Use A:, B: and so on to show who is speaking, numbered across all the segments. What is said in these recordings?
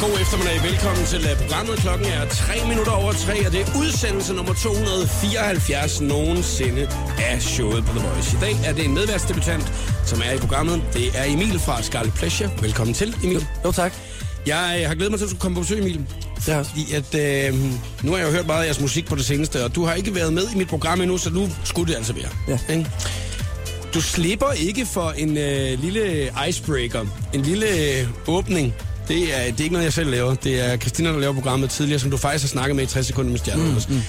A: God eftermiddag. Velkommen til øh, programmet. Klokken er 3 minutter over 3, og det er udsendelse nummer 274 nogensinde af showet på The Voice. I dag er det en medværtsdebutant, som er i programmet. Det er Emil fra Scarlet Pleasure. Velkommen til, Emil.
B: Jo tak.
A: Jeg øh, har glædet mig til, at du skulle komme på besøg, Emil.
B: Det også.
A: Fordi at, øh, nu har jeg jo hørt meget af jeres musik på det seneste, og du har ikke været med i mit program endnu, så nu skulle det altså være.
B: Ja.
A: Ikke? Du slipper ikke for en øh, lille icebreaker, en lille øh, åbning. Det er, det er ikke noget, jeg selv laver. Det er Christina, der laver programmet tidligere, som du faktisk har snakket med i 60 sekunder med stjerner. Mm, mm.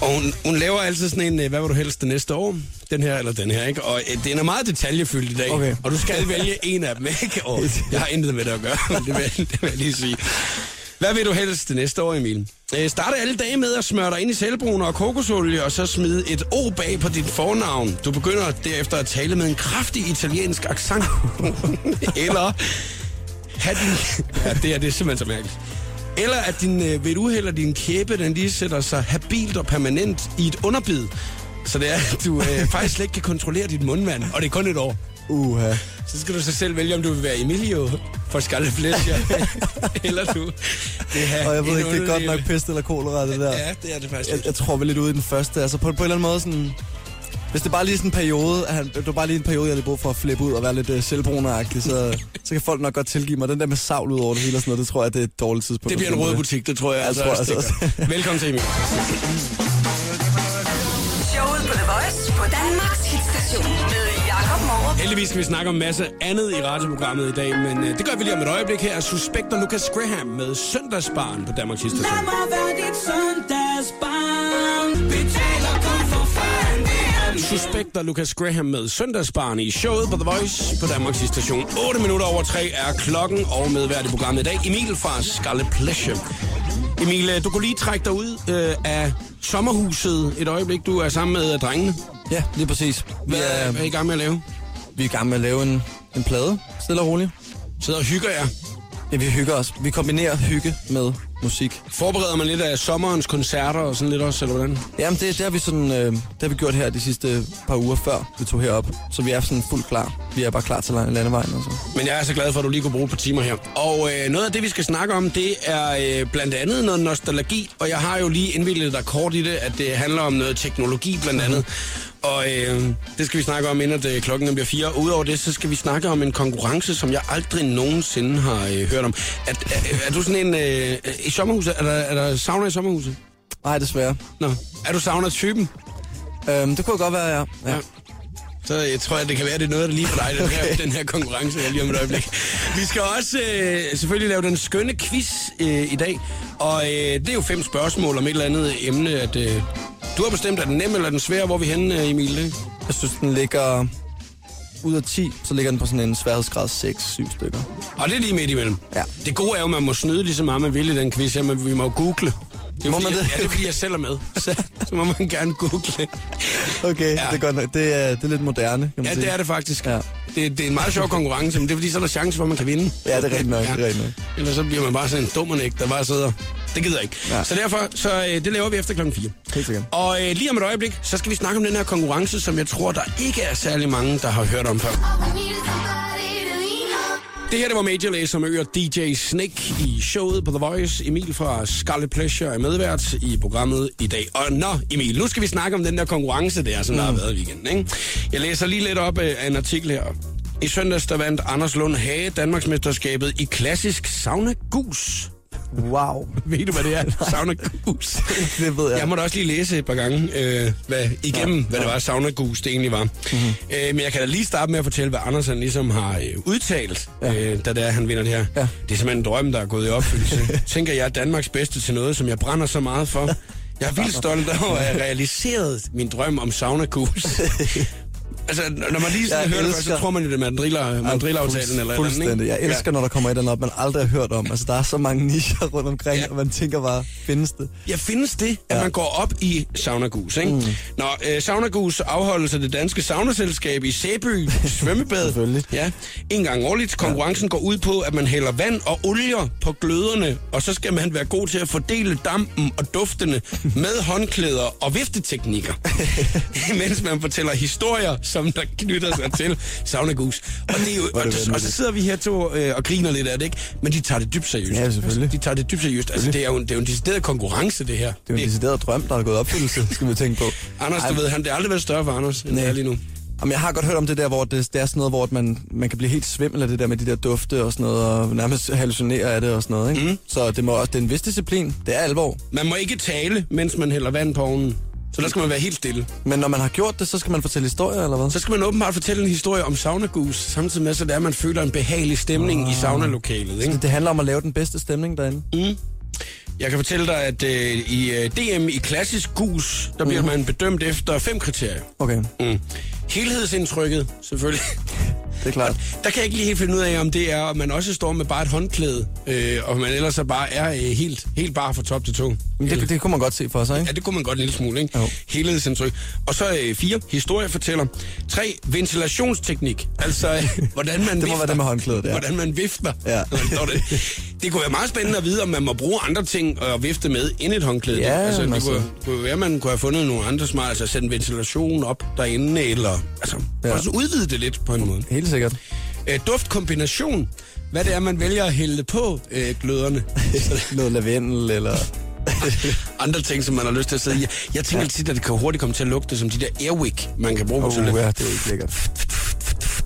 A: Og hun, hun laver altid sådan en, øh, hvad vil du helst det næste år? Den her eller den her, ikke? Og øh, den er meget detaljefyldt i dag.
B: Okay.
A: Og du skal vælge en af dem, ikke? Og jeg har intet med det at gøre, men det vil, jeg- det vil jeg lige sige. Hvad vil du helst det næste år, Emil? Øh, starte alle dage med at smøre dig ind i selvbruner og kokosolie, og så smide et O bag på dit fornavn. Du begynder derefter at tale med en kraftig italiensk accent. eller have din... Ja, det er, det er simpelthen så mærkeligt. Eller at din, øh, ved et uheld og din kæbe, den lige sætter sig habilt og permanent i et underbid. Så det er, at du øh, faktisk slet ikke kan kontrollere dit mundvand, og det er kun et år.
B: Uha.
A: Så skal du så selv vælge, om du vil være Emilio fra Scarlet Pleasure, eller du vil have
B: Og jeg ved
A: en
B: ikke, det er godt nok
A: underlæbe.
B: pest eller kolera, det der.
A: Ja, det er det faktisk.
B: Jeg, jeg tror vel lidt ude i den første. Altså på, på en eller anden måde sådan... Hvis det bare lige er sådan en periode, at han, det var bare lige en periode, jeg lige brug for at flippe ud og være lidt uh, selvbruneragtig, så, så kan folk nok godt tilgive mig. Den der med savl ud over det hele og sådan noget, det tror jeg, det er et dårligt tidspunkt.
A: Det
B: at
A: bliver en
B: finde
A: rød
B: det.
A: butik, det tror jeg,
B: Jeg
A: altså,
B: tror
A: også, det
B: altså
A: gør. Velkommen til Emil.
C: Showet på The Voice på Danmarks hitstation med Jakob Morup.
A: Heldigvis skal vi snakke om en masse andet i radioprogrammet i dag, men øh, det gør vi lige om et øjeblik her. Suspekter Lucas Graham med Søndagsbarn på Danmarks Station.
D: Lad mig være dit søndagsbarn Betaler kun for fanden, det er min
A: Suspekter Lucas Graham med Søndagsbarn i showet på The Voice på Danmarks station. 8 minutter over 3 er klokken, og medvært i programmet i dag, Emil fra Scarlet Pleasure. Emil, øh, du kunne lige trække dig ud øh, af sommerhuset et øjeblik. Du er sammen med øh, drengene.
B: Ja, lige præcis. Vi
A: Hvad, ja.
B: er,
A: hvad er I i gang med at lave?
B: vi er i gang med at lave en, en plade, stille og roligt.
A: Sidder og hygger jer.
B: Ja, vi hygger os. Vi kombinerer hygge med musik.
A: Forbereder man lidt af sommerens koncerter og sådan lidt også, eller hvordan?
B: Jamen, det, det, har vi sådan, øh, det har vi gjort her de sidste par uger før vi tog herop. Så vi er sådan fuldt klar. Vi er bare klar til landevejen. Altså.
A: Men jeg er så glad for, at du lige kunne bruge et par timer her. Og øh, noget af det, vi skal snakke om, det er øh, blandt andet noget nostalgi. Og jeg har jo lige indvildet dig kort i det, at det handler om noget teknologi blandt andet. Og øh, det skal vi snakke om, inden at, øh, klokken den bliver fire. Udover det, så skal vi snakke om en konkurrence, som jeg aldrig nogensinde har øh, hørt om. Er, er, er du sådan en... Øh, I sommerhuset? Er der, er der sauna i sommerhuset?
B: Nej, desværre.
A: Nå. Er du sauna-typen?
B: Øhm, det kunne godt være, ja. ja.
A: Så jeg tror, at det kan være, at det er noget, der lige for dig, den her, den her konkurrence her lige om et øjeblik. Vi skal også øh, selvfølgelig lave den skønne quiz øh, i dag, og øh, det er jo fem spørgsmål om et eller andet emne, at øh, du har bestemt, er den nem eller den svære, hvor er vi henne, øh, Emil? ikke?
B: Jeg synes, den ligger... Ud af 10, så ligger den på sådan en sværhedsgrad 6-7 stykker.
A: Og det er lige midt imellem.
B: Ja.
A: Det gode er jo, at man må snyde lige så meget, man vil i den quiz her, men vi må jo google. Det er,
B: Må
A: fordi,
B: man
A: Jeg,
B: det?
A: ja, det er fordi, jeg selv er med. Så, så må man gerne google.
B: Okay,
A: Ja.
B: ja. det er godt nok. Det er, det er lidt moderne, kan man
A: Ja,
B: sige.
A: det er det faktisk.
B: Ja.
A: Det, det er en meget sjov konkurrence, men det er fordi, så er der chance for, at man kan vinde.
B: Ja, det er rigtigt nok, det er rigtigt nok.
A: Ellers så bliver man bare sådan en dummernægt, der bare sidder. Det gider jeg ikke. Ja.
B: Ja.
A: Så derfor, så øh, det laver vi efter klokken 4.
B: Helt sikkert.
A: Og øh, lige om et øjeblik, så skal vi snakke om den her konkurrence, som jeg tror, der ikke er særlig mange, der har hørt om før. Det her, det var Major Lazer som øger DJ Snake i showet på The Voice. Emil fra Scarlet Pleasure er medvært i programmet i dag. Og nå, Emil, nu skal vi snakke om den der konkurrence der, som mm. der har været i weekenden. Ikke? Jeg læser lige lidt op øh, af en artikel her. I søndags, der vandt Anders Lund Hage Danmarksmesterskabet i klassisk sauna gus.
B: Wow.
A: Ved du, hvad det er? Sauna gus.
B: Det ved jeg.
A: Jeg må da også lige læse et par gange øh, hvad, igennem, ja, hvad det var, sauna gus det egentlig var.
B: Mhm.
A: Mm-hmm. Øh, men jeg kan da lige starte med at fortælle, hvad Andersen ligesom har øh, udtalt, ja. øh, da det er, han vinder det her. Ja.
B: Ja.
A: Det er simpelthen en drøm, der er gået i opfyldelse. Tænker jeg er Danmarks bedste til noget, som jeg brænder så meget for. Jeg er vildt stolt over at have realiseret min drøm om sauna gus. Altså, når man lige sådan
B: Jeg
A: hører det, først, så
B: elsker-
A: tror man jo, det er mandriller, mandrillaftalen eller et eller andet,
B: Fuldstændig.
A: ikke?
B: Jeg elsker, når der kommer et eller andet op, man aldrig har hørt om. Altså, der er så mange nischer rundt omkring,
A: Ja.
B: ja. og man tænker bare, findes det?
A: Ja, findes det, at man går op i Sauna Gus, ikke? Mm. Nå, øh, Sauna Gus afholdes af det danske saunaselskab i Sæby Svømmebad.
B: Selvfølgelig.
A: Ja, en gang årligt. Konkurrencen går ud på, at man hælder vand og olier på gløderne, og så skal man være god til at fordele dampen og duftene med håndklæder og vifteteknikker, mens man fortæller historier, som der knytter sig til Sauna Goose. Og, det er jo, og,
B: det
A: det, og så
B: vanvittigt.
A: sidder vi her to øh, og griner lidt af det, ikke? Men de tager det dybt seriøst.
B: Ja, selvfølgelig.
A: De tager det dybt seriøst. Altså, det er jo en, det er jo en decideret konkurrence, det her.
B: Det er jo en decideret drøm, der er gået i opfyldelse, skal vi tænke på.
A: Anders,
B: Ej,
A: du ved, han, det har aldrig været større for Anders, end det er lige nu.
B: Jamen, jeg har godt hørt om det der, hvor det, det er sådan noget, hvor at man, man kan blive helt svimmel af det der med de der dufte og sådan noget, og nærmest hallucinere af det og sådan noget, ikke? Mm. Så det, må også, det er en vis disciplin. Det er alvor.
A: Man må ikke tale, mens man hælder vand på ovnen. Så der skal man være helt stille.
B: Men når man har gjort det, så skal man fortælle historier, eller hvad?
A: Så skal man åbenbart fortælle en historie om saunagus, samtidig med, så det er, at man føler en behagelig stemning
B: Ah.
A: i saunalokalet. Ikke?
B: Det handler om at lave den bedste stemning derinde.
A: Mm. Jeg kan fortælle dig, at øh, i øh, DM i klassisk gus, der
B: Mhm.
A: bliver man bedømt efter fem kriterier.
B: Okay,
A: Mm. Helhedsindtrykket, selvfølgelig.
B: det er klart.
A: Der kan jeg ikke lige helt finde ud af, om det er, om man også står med bare et håndklæde, øh, og man ellers så bare er øh, helt, helt bare fra top til to.
B: Men det, det kunne man godt se for sig,
A: Ja,
B: ikke?
A: det kunne man godt en lille smule, ikke?
B: Jo.
A: Helhedsindtryk. Og så øh, fire, historiefortæller. Tre, ventilationsteknik. Altså, øh, hvordan man
B: Det må være det med håndklædet, ja.
A: Hvordan man vifter.
B: Ja.
A: Når man står der. Det kunne være meget spændende at vide, om man må bruge andre ting at vifte med end et håndklæde.
B: Ja,
A: altså,
B: men
A: det kunne,
B: altså-
A: kunne være, man kunne have fundet nogle andre smart, altså sætte en ventilation op derinde, eller altså, ja.
B: Ja.
A: også udvide det lidt på en måde.
B: Helt sikkert.
A: Øh, duftkombination. Hvad det er, man vælger at hælde på øh, gløderne.
B: Noget lavendel, eller...
A: andre ting, som man har lyst til at sidde i. Jeg tænker ja. tit, at det kan hurtigt komme til at lugte som de der airwick, man kan bruge
B: Oh,
A: oh, til det.
B: ja, det er ikke lækkert.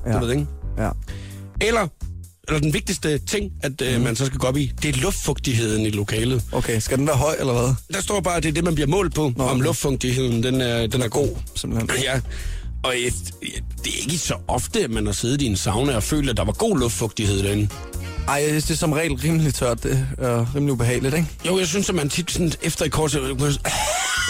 A: Ja. Du ved, ikke?
B: Ja.
A: Eller, eller den vigtigste ting, at øh, man så skal gå op i, det er luftfugtigheden i lokalet.
B: Okay, skal den være høj, eller hvad?
A: Der står bare, at det er det, man bliver målt på, Nå, Mm. om
B: okay.
A: luftfugtigheden den er, den er god.
B: Simpelthen.
A: Ja. Og et, det er ikke så ofte, at man har siddet i en sauna og følt, at der var god luftfugtighed derinde.
B: Ej, jeg synes, det er som regel rimelig tørt og rimelig ubehageligt, ikke?
A: Jo, jeg synes, at man tit sådan, efter et kort... så-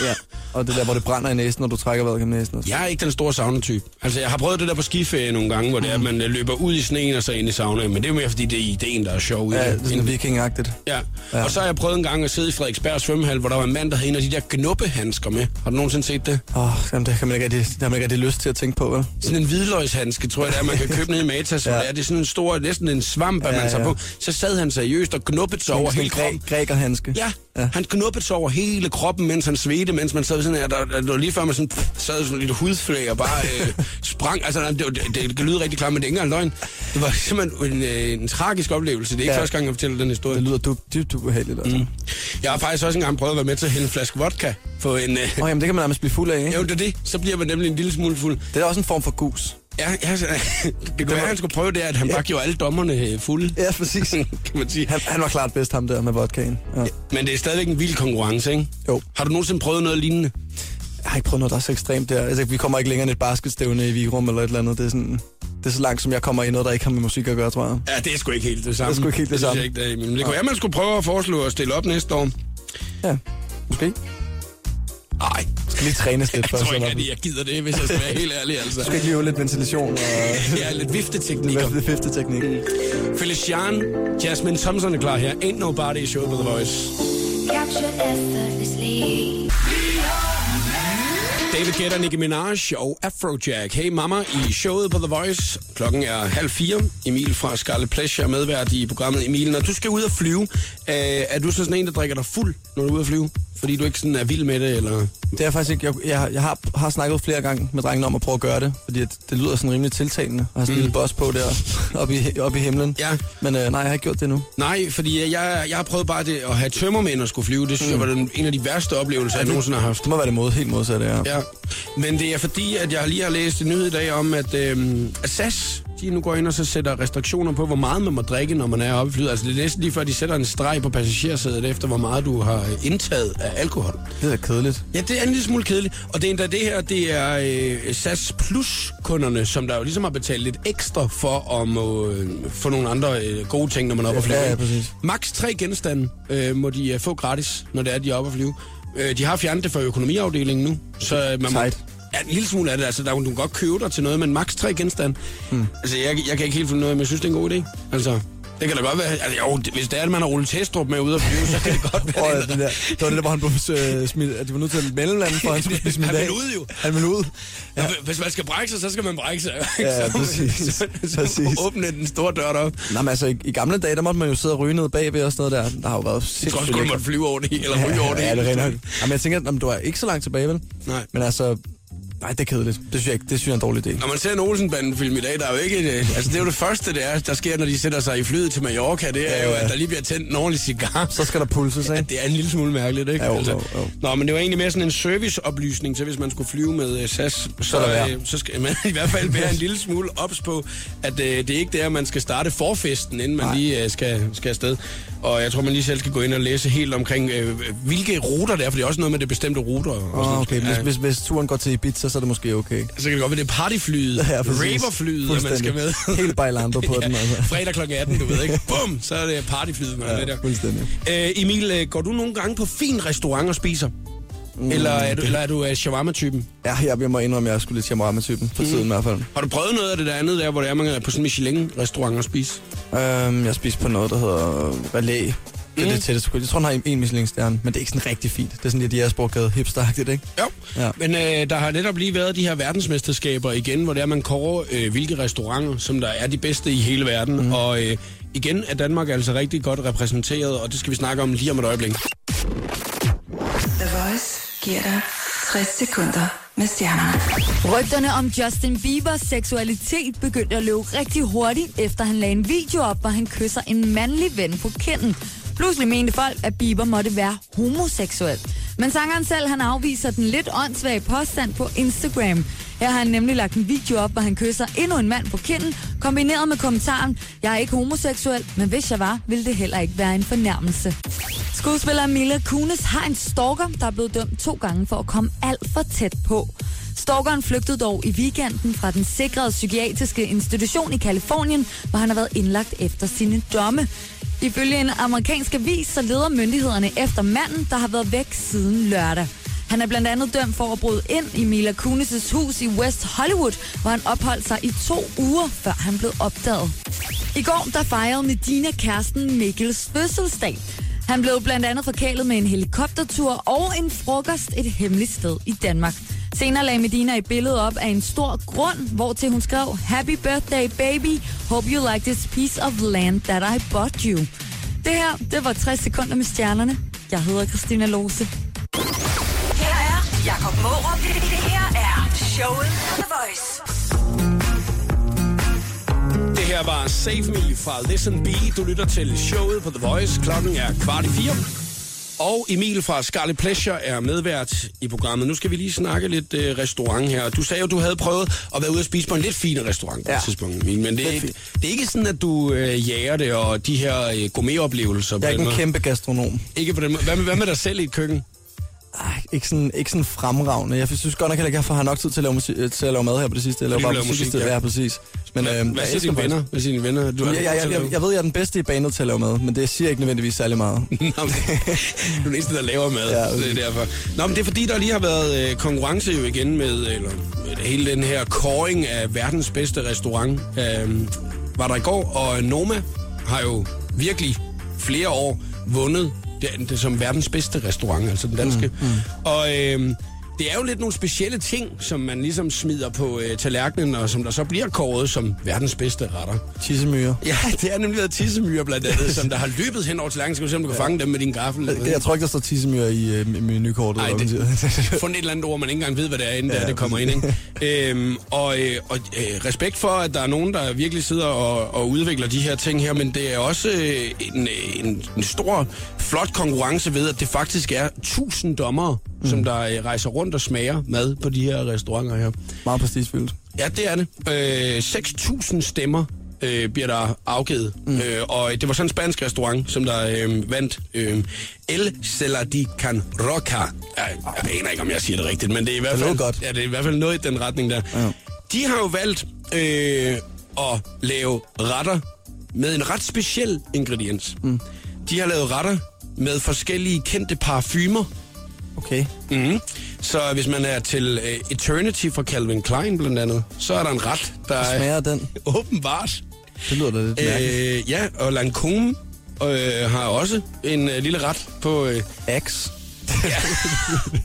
B: Ja. Og det der, hvor det brænder i næsen, når du trækker vejret gennem næsen. og sådan.
A: Jeg er ikke den store saunatype. Altså, jeg har prøvet det der på skiferie nogle gange, hvor det er, at man øh, løber ud i sneen og så ind i saunaen, men det er mere, fordi det er ideen, der er sjov. i
B: Ja, det
A: det.
B: er sådan vikingagtigt.
A: Ja.
B: Ja.
A: og så har jeg prøvet en gang at sidde i Frederiksberg svømmehal, hvor der var en mand, der havde en af de der gnuppehandsker med. Har du nogensinde set det?
B: Åh, oh, jamen, det har man ikke rigtig, det har man ikke rigtig lyst til at tænke på, vel?
A: Sådan en hvidløgshandske, tror jeg, det er, man kan købe nede i Matas, ja. hvor
B: Ja.
A: det er, det er sådan en stor, næsten en svamp, at
B: Ja,
A: man tager
B: ja.
A: på. Så sad han seriøst og knuppede sig over
B: Sådan en
A: hele kroppen.
B: græ- Grækerhandske.
A: Ja, ja,
B: ja.
A: han knuppede sig over hele kroppen, mens han svedte, mens man sad sådan her. Der, der, der lige før man sådan, pff, sad sådan lidt hudflæg og bare øh, sprang. Altså, nej, det, var- det, det, kan lyde rigtig klart, men det er ikke engang løgn. Det var simpelthen en, øh, en tragisk oplevelse. Det er ikke ja.
B: Ja.
A: første gang, jeg fortæller den historie.
B: Det lyder dybt, dybt ubehageligt, altså. Mm.
A: Jeg har faktisk også engang prøvet at være med til at hælde en flaske vodka på en... Øh,
B: Åh, oh, jamen, det kan man nærmest blive fuld af, ikke?
A: jo, det er det. Så bliver man nemlig en lille smule fuld.
B: Det er da også en form for gus.
A: Ja, ja så- det kunne være,
B: var-
A: han skulle prøve det, at han bare gjorde alle dommerne øh, fulde.
B: Ja, præcis.
A: kan man sige.
B: Han, han var klart bedst, ham der med vodkaen. Ja.
A: Men det er stadigvæk en vild konkurrence, ikke?
B: Jo.
A: Har du nogensinde prøvet noget lignende?
B: Jeg har ikke prøvet noget, der er så ekstremt der. Altså, vi kommer ikke længere end et basketstævne i Vigrum eller et eller andet. Det er, sådan, det er så langt, som jeg kommer i noget, der ikke har med musik at gøre, tror jeg.
A: Ja, det er sgu ikke helt det samme.
B: Det er sgu ikke helt det
A: synes
B: samme.
A: Jeg ikke, det, er, men det kunne være, man skulle prøve at foreslå at stille op næste år.
B: Ja, måske.
A: Nej,
B: Jeg skal lige trænes lidt
A: jeg
B: først.
A: tror ikke,
B: eller hvad?
A: at jeg gider det, hvis jeg skal være helt ærlig, altså.
B: Du skal ikke lige øve lidt ventilation og
A: Jeg er lidt vifteteknikker.
B: lidt vifteteknik.
A: Felician, Jasmine Thompson er klar her. Ain't nobody i showet på The Voice.
E: Capture effortlessly.
A: David Guetta, Nicki Minaj og Afrojack. Hey mamma i showet på The Voice. Klokken er halv fire. Emil fra Scarlet Pleasure er medvært i programmet. Emil, når du skal ud og flyve, øh, er du så sådan en, der drikker dig fuld, når du er ude at flyve? Fordi du ikke sådan er vild med det, eller...
B: Det er faktisk ikke, jeg, jeg, jeg har, har snakket flere gange med drengene om at prøve at gøre det, fordi at det lyder sådan rimelig tiltalende at have sådan en lille boss på der oppe i, oppe i himlen.
A: Mm. Ja.
B: Men øh, nej, jeg har ikke gjort det nu.
A: Nej, fordi jeg, jeg har prøvet bare det at have tømmermænd og skulle flyve. Det synes mm. jeg var den, en af de værste oplevelser, jeg nogensinde har haft.
B: Det må være det mod, helt modsatte, ja.
A: Ja, men det er fordi, at jeg lige har læst en nyhed i dag om, at, øhm, at SAS de nu går ind og så sætter restriktioner på, hvor meget man må drikke, når man er oppe i flyet. Altså det er næsten lige før, de sætter en streg på passagersædet efter, hvor meget du har øh, indtaget af alkohol.
B: Det er da kedeligt.
A: Ja, det er en lille smule kedeligt. Og det er endda det her, det er øh, SAS Plus-kunderne, som der jo ligesom har betalt lidt ekstra for at må, øh, få nogle andre øh, gode ting, når man er oppe at flyve.
B: Ja, ja, præcis.
A: Max tre genstande øh, må de øh, få gratis, når det er, de er oppe at flyve. Øh, de har fjernet det fra økonomiafdelingen nu, så øh, man må,
B: Tight.
A: Ja, en lille smule af det. Altså, der, du kan godt købe dig til noget, men max tre genstande. Hmm. Altså, jeg, jeg kan ikke helt finde noget, men jeg synes, det er en god idé. Altså, det kan da godt være. Altså, jo, det- hvis det er, at man har rullet Testrup med ud at flyve, så kan det godt være.
B: Og
A: det er
B: øh, den der, det var det der, hvor han blev øh, smidt, at de var nødt til at mellemlande, for han skulle blive smidt
A: Han
B: af.
A: ville ud jo.
B: Han ville ud.
A: Ja. Hvis man skal brække sig, så skal man brække sig.
B: Ja,
A: så,
B: præcis.
A: Så, så
B: Præcis.
A: åbne den store dør op.
B: Nej, men altså, i, i, gamle dage, der måtte man jo sidde og ryge ned bagved og sådan noget der. Der har jo været
A: Jeg tror
B: sindssygt
A: også, kun,
B: lækkert.
A: måtte flyve over det hele, eller ryge over det
B: Ja,
A: hele.
B: det er rent nok. Jamen, jeg tænker, at du er ikke så langt tilbage, vel?
A: Nej.
B: Men altså, Nej, det er kedeligt. Det synes jeg ikke. Det synes jeg er en dårlig idé.
A: Når man ser en Olsenbanden-film i dag, der er jo ikke... et, øh, Altså, det er jo det første, det er, der sker, når de sætter sig i flyet til Mallorca. Det er jo, at der lige bliver tændt en ordentlig cigar.
B: Så skal der pulses,
A: Ja,
B: ikke?
A: det er en lille smule mærkeligt, ikke? Altså,
B: Jo, jo, jo.
A: Nå, men det var egentlig mere sådan en serviceoplysning, så hvis man skulle flyve med øh, SAS, så, så,
B: der
A: øh, så skal man i hvert fald være en lille smule ops på, at øh, det er ikke der, man skal starte forfesten, inden man Nej. lige øh, skal, skal afsted. Og jeg tror, man lige selv skal gå ind og læse helt omkring, øh, hvilke ruter det er, for det er også noget med det bestemte ruter. Og sådan
B: Åh,
A: noget.
B: Ah, okay. Hvis,
A: Ja.
B: hvis, hvis turen går til Ibiza, så er det måske okay.
A: Så kan det godt være, det er partyflyet, ja,
B: præcis.
A: raverflyet, at man skal
B: Fuldstændig.
A: med.
B: Helt bailando på den, altså.
A: Fredag kl. 18, du ved ikke. Bum, så er det partyflyet, man ja, er med der.
B: fuldstændig.
A: Øh, Emil, øh, går du nogle gange på fin restaurant og spiser? Mm, eller, er du, eller er du øh, shawarma-typen?
B: Ja, jeg, jeg må indrømme, at jeg skulle lidt shawarma-typen for
A: Mm.
B: tiden i hvert fald.
A: Har du prøvet noget af det der andet der, hvor det er, man er på sådan en Michelin-restaurant og spise?
B: Øhm, jeg spiste på noget, der hedder Valet. Det er
A: Mm.
B: det tætteste. Jeg tror, den har en- en Michelin-stjerne, men det er ikke sådan rigtig fint. Det er sådan lidt Jægersborg-gade hipsteragtigt, ikke?
A: Jo. Ja.
B: Ja.
A: Men øh, der har netop lige været de her verdensmesterskaber igen, hvor det er, man kårer øh, hvilke restauranter, som der er de bedste i hele verden. Mm. Og øh, igen er Danmark altså rigtig godt repræsenteret, og det skal vi snakke om lige om et øjeblik.
C: The Voice giver dig 60 sekunder med stjernerne.
F: Rygterne om Justin Biebers seksualitet begyndte at løbe rigtig hurtigt, efter han lagde en video op, hvor han kysser en mandlig ven på kinden. Pludselig mente folk, at Bieber måtte være homoseksuel. Men sangeren selv, han afviser den lidt åndssvage påstand på Instagram. Her har han nemlig lagt en video op, hvor han kysser endnu en mand på kinden, kombineret med kommentaren, jeg er ikke homoseksuel, men hvis jeg var, ville det heller ikke være en fornærmelse. Skuespiller Mila Kunis har en stalker, der er blevet dømt to gange for at komme alt for tæt på. Stalkeren flygtede dog i weekenden fra den sikrede psykiatriske institution i Kalifornien, hvor han har været indlagt efter sine domme. Ifølge en amerikansk avis, så leder myndighederne efter manden, der har været væk siden lørdag. Han er blandt andet dømt for at bryde ind i Mila Kunis' hus i West Hollywood, hvor han opholdt sig i to uger, før han blev opdaget. I går der fejrede Medina kæresten Mikkels fødselsdag. Han blev blandt andet forkælet med en helikoptertur og en frokost et hemmeligt sted i Danmark. Senere lagde Medina et billede op af en stor grund, hvor til hun skrev Happy birthday baby, hope you like this piece of land that I bought you. Det her, det var 60 sekunder med stjernerne. Jeg hedder Christina Lose.
C: Her er Jakob Morup. Det, det her er showet på The Voice.
A: Det her var Save Me fra Listen B. Du lytter til showet på The Voice. Klokken er kvart i fire. Og Emil fra Scarlet Pleasure er medvært i programmet. Nu skal vi lige snakke lidt øh, restaurant her. Du sagde jo, du havde prøvet at være ude at spise på en lidt fin restaurant på ja.
B: Ja.
A: et tidspunkt, Emil. Men det er,
B: Lidt
A: ikke,
B: fin.
A: det er ikke sådan, at du øh, jager det og de her øh, gourmetoplevelser. på
B: Jeg er
A: den
B: ikke en
A: måde.
B: kæmpe gastronom.
A: ikke på den måde. Hvad med, hvad med dig selv i et køkken?
B: Ej, ikke sådan, ikke sådan fremragende. Jeg synes godt nok heller ikke, jeg har nok tid til at lave, musik, øh, til at lave mad her på det sidste. Jeg laver
A: Fordi du
B: bare
A: laver
B: musik,
A: musik,
B: musik ja.
A: ja.
B: ja. præcis. Men,
A: Hvad,
B: øhm,
A: hvad
B: jeg
A: siger
B: elsker
A: dine venner? Hvad siger dine venner? Du har
B: faktisk- Jeg, jeg, jeg, jeg ved, jeg er den bedste i banet til at lave mad, men det siger ikke nødvendigvis særlig meget.
A: Nå, men, du er den eneste, der laver mad,
B: Ja,
A: ja, så det er
B: okay.
A: derfor. Nå, men det er fordi, der lige har været øh, konkurrence jo igen med, eller, med hele den her kåring af verdens bedste restaurant, øh, var der i går, og Noma har jo virkelig flere år vundet det, det som verdens bedste restaurant, altså den danske. Mm, mm. Og øh, det er jo lidt nogle specielle ting, som man ligesom smider på øh, tallerkenen, og som der så bliver kåret som verdens bedste retter.
B: Tissemyre.
A: Ja, det er nemlig været tissemyre blandt andet, som der har løbet hen over til langt. Skal du se, om du kan fange dem med din gaffel?
B: Det- Jeg tror ikke, der står tissemyre i øh, i menukortet.
A: Nej,
B: eller hvad man
A: det
B: siger.
A: er fundet et eller andet ord, man ikke engang ved, hvad det er, inden ja, det kommer ind. Ikke? Øhm, og øh, og øh, respekt for, at der er nogen, der virkelig sidder og, og udvikler de her ting her, men det er også øh, en, en, en stor, flot konkurrence ved, at det faktisk er tusind dommere, mm. som der øh, rejser rundt og smager mad på de her restauranter her.
B: Meget prestigefyldt.
A: Ja, det er det. Øh, 6.000 stemmer øh, bliver der afgivet. Mm. Øh, og det var sådan en spansk restaurant, som der øh, vandt øh, El Celadi Can Roca. Jeg, jeg aner ikke, om jeg siger det rigtigt, men det er i hvert
B: Det
A: fald,
B: lød godt.
A: Ja, det er i hvert fald noget i den retning der. Ja.
B: Ja.
A: De har jo valgt øh, at lave retter med en ret speciel ingrediens. Mm. De har lavet retter med forskellige kendte parfumer,
B: Okay.
A: Mm. Så hvis man er til øh, Eternity fra Calvin Klein blandt andet, så er der en ret, der
B: Hvad
A: er
B: smager den?
A: åbenbart.
B: Det lyder da lidt mærkeligt.
A: Øh, ja, og Lancome øh, har også en øh, lille ret på... Øh,
B: Axe.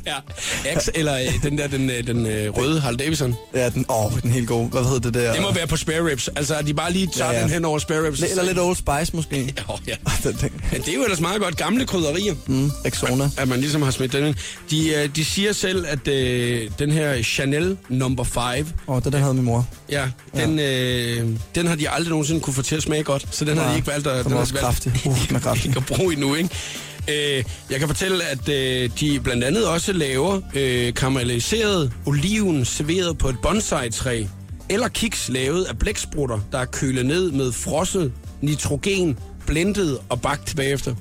A: ja. X, eller øh, den der, den, øh, den øh, røde Harley Davidson.
B: Ja, den, åh, den helt gode. Hvad hedder det der?
A: Det må være på spare ribs. Altså, at de bare lige tager ja,
B: Ja,
A: ja.
B: ja.
A: den hen over spare ribs.
B: Eller lidt Old Spice måske.
A: Jo, ja.
B: Den ting.
A: Men det er jo ellers meget godt gamle krydderier,
B: Mm, Exona.
A: at man ligesom har smidt den ind. De, øh, de siger selv, at øh, den her Chanel number 5,
B: Åh, oh, det der havde min mor.
A: ja, den, øh, den har de aldrig nogensinde kunne få til at smage godt. Så den har de
B: Nej,
A: ikke valgt at,
B: den var
A: har
B: også
A: de valgt-
B: kraftig. Uh, den er kraftig.
A: ikke at bruge endnu, ikke? Øh, jeg kan fortælle, at øh, de blandt andet også laver øh, karamelliseret oliven serveret på et bonsai-træ, eller kiks lavet af blæksprutter, der er kølet ned med frosset nitrogen, blendet og bagt bagefter.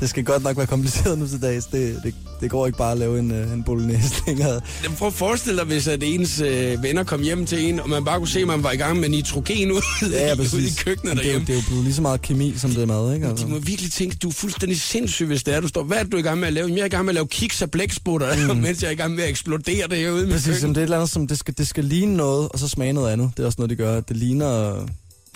B: Det skal godt nok være kompliceret nu til dags. Det, det, det går ikke bare at lave en, øh, en bolognese længere.
A: Jamen, Prøv at forestille dig, hvis at ens øh, venner kom hjem til en, og man bare kunne se, at man var i gang med nitrogen ude, ja, ude i køkkenet
B: Men det, er jo,
A: derhjemme.
B: det er jo blevet lige så meget kemi, som det er mad, ikke?
A: De må
B: Altså.
A: virkelig tænke, du er fuldstændig sindssyg, hvis det er, du står. Hvad er det, du er i gang med at lave? Jamen, Jeg er i gang med at lave kiks af blæksprutter, mm. mens jeg er i gang med at eksplodere det herude med
B: Præcis, som det er et eller andet, som det skal, det skal ligne noget, og så smage noget andet. Det er også noget, de gør. at Det ligner øh,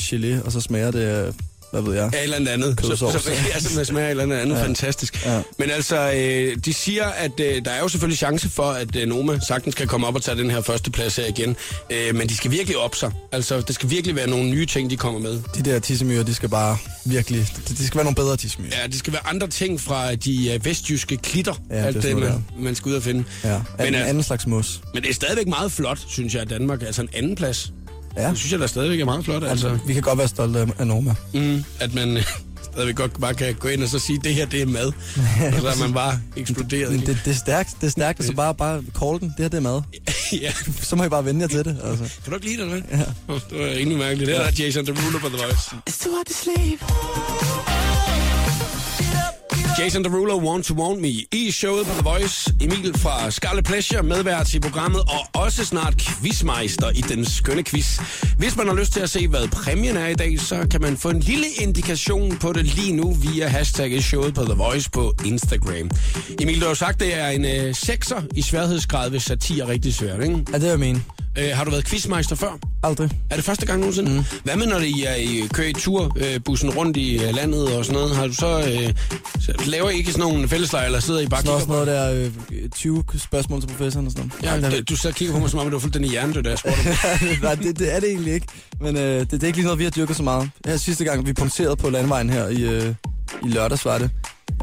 B: gelé, og så smager det, øh, hvad ved jeg.
A: Ja, et eller andet andet. Så,
B: Kødsovs.
A: så, ja, så man smager et eller andet andet. Ja. Fantastisk. Ja.
B: Ja.
A: Men altså, øh, de siger, at øh, der er jo selvfølgelig chance for, at øh, Noma sagtens kan komme op og tage den her første plads her igen. Øh, men de skal virkelig op sig. Altså, det skal virkelig være nogle nye ting, de kommer med.
B: De der tissemyrer, de skal bare virkelig... De, de skal være nogle bedre tissemyrer.
A: Ja, det skal være andre ting fra de øh, vestjyske klitter. Ja,
B: Ja, det er
A: alt det,
B: sådan noget,
A: man, man skal ud og finde.
B: Ja, men,
A: Men,
B: en
A: øh,
B: anden slags mos.
A: Men det er stadigvæk meget flot, synes jeg, at Danmark. Altså en anden plads.
B: Ja.
A: Det synes jeg, der stadigvæk er meget flot. Altså,
B: Vi kan godt være stolte af- af Norma.
A: mm, at man øh, stadigvæk godt bare kan gå ind og så sige, det her, det er mad. og så er man bare eksploderet.
B: Men
A: i-
B: det, det er stærkt, det er stærkt, og så bare, bare call den. Det her, det er mad.
A: ja.
B: Så må I bare vende jer til det, altså.
A: Kan du ikke lide den, hvad? Ja. Det var rimelig mærkeligt. Det er der Jason Derulo på The Voice. Jason Derulo, Want to Want Me, i showet på The Voice. Emil fra Scarlet Pleasure, medvært i programmet, og også snart quizmeister i den skønne quiz. Hvis man har lyst til at se, hvad præmien er i dag, så kan man få en lille indikation på det lige nu via hashtagget showet på The Voice på Instagram. Emil, du har jo sagt, det er en øh, sekser i sværhedsgrad, hvis satire er rigtig svært, ikke?
B: Ja, det er jeg mene.
A: Øh, har du været quizmeister før?
B: Aldrig.
A: Er det første gang nogensinde? Mm. Hvad med, når I er i kører i turbussen rundt i øh, landet og sådan noget? Har du så, øh, så laver I ikke sådan nogle fælleslejre, eller sidder I bare og
B: Så
A: kigger
B: også noget der øh, 20 spørgsmål til professoren og sådan noget.
A: Ja, det- du så kigger på mig, som om du var fuldstændig hjernedød, da jeg spurgte dig.
B: Nej, det, det er det egentlig ikke. Men øh, det, det er ikke lige noget, vi har dyrket så meget. Her sidste gang, vi punkterede på landvejen her i, øh, i lørdags, var det.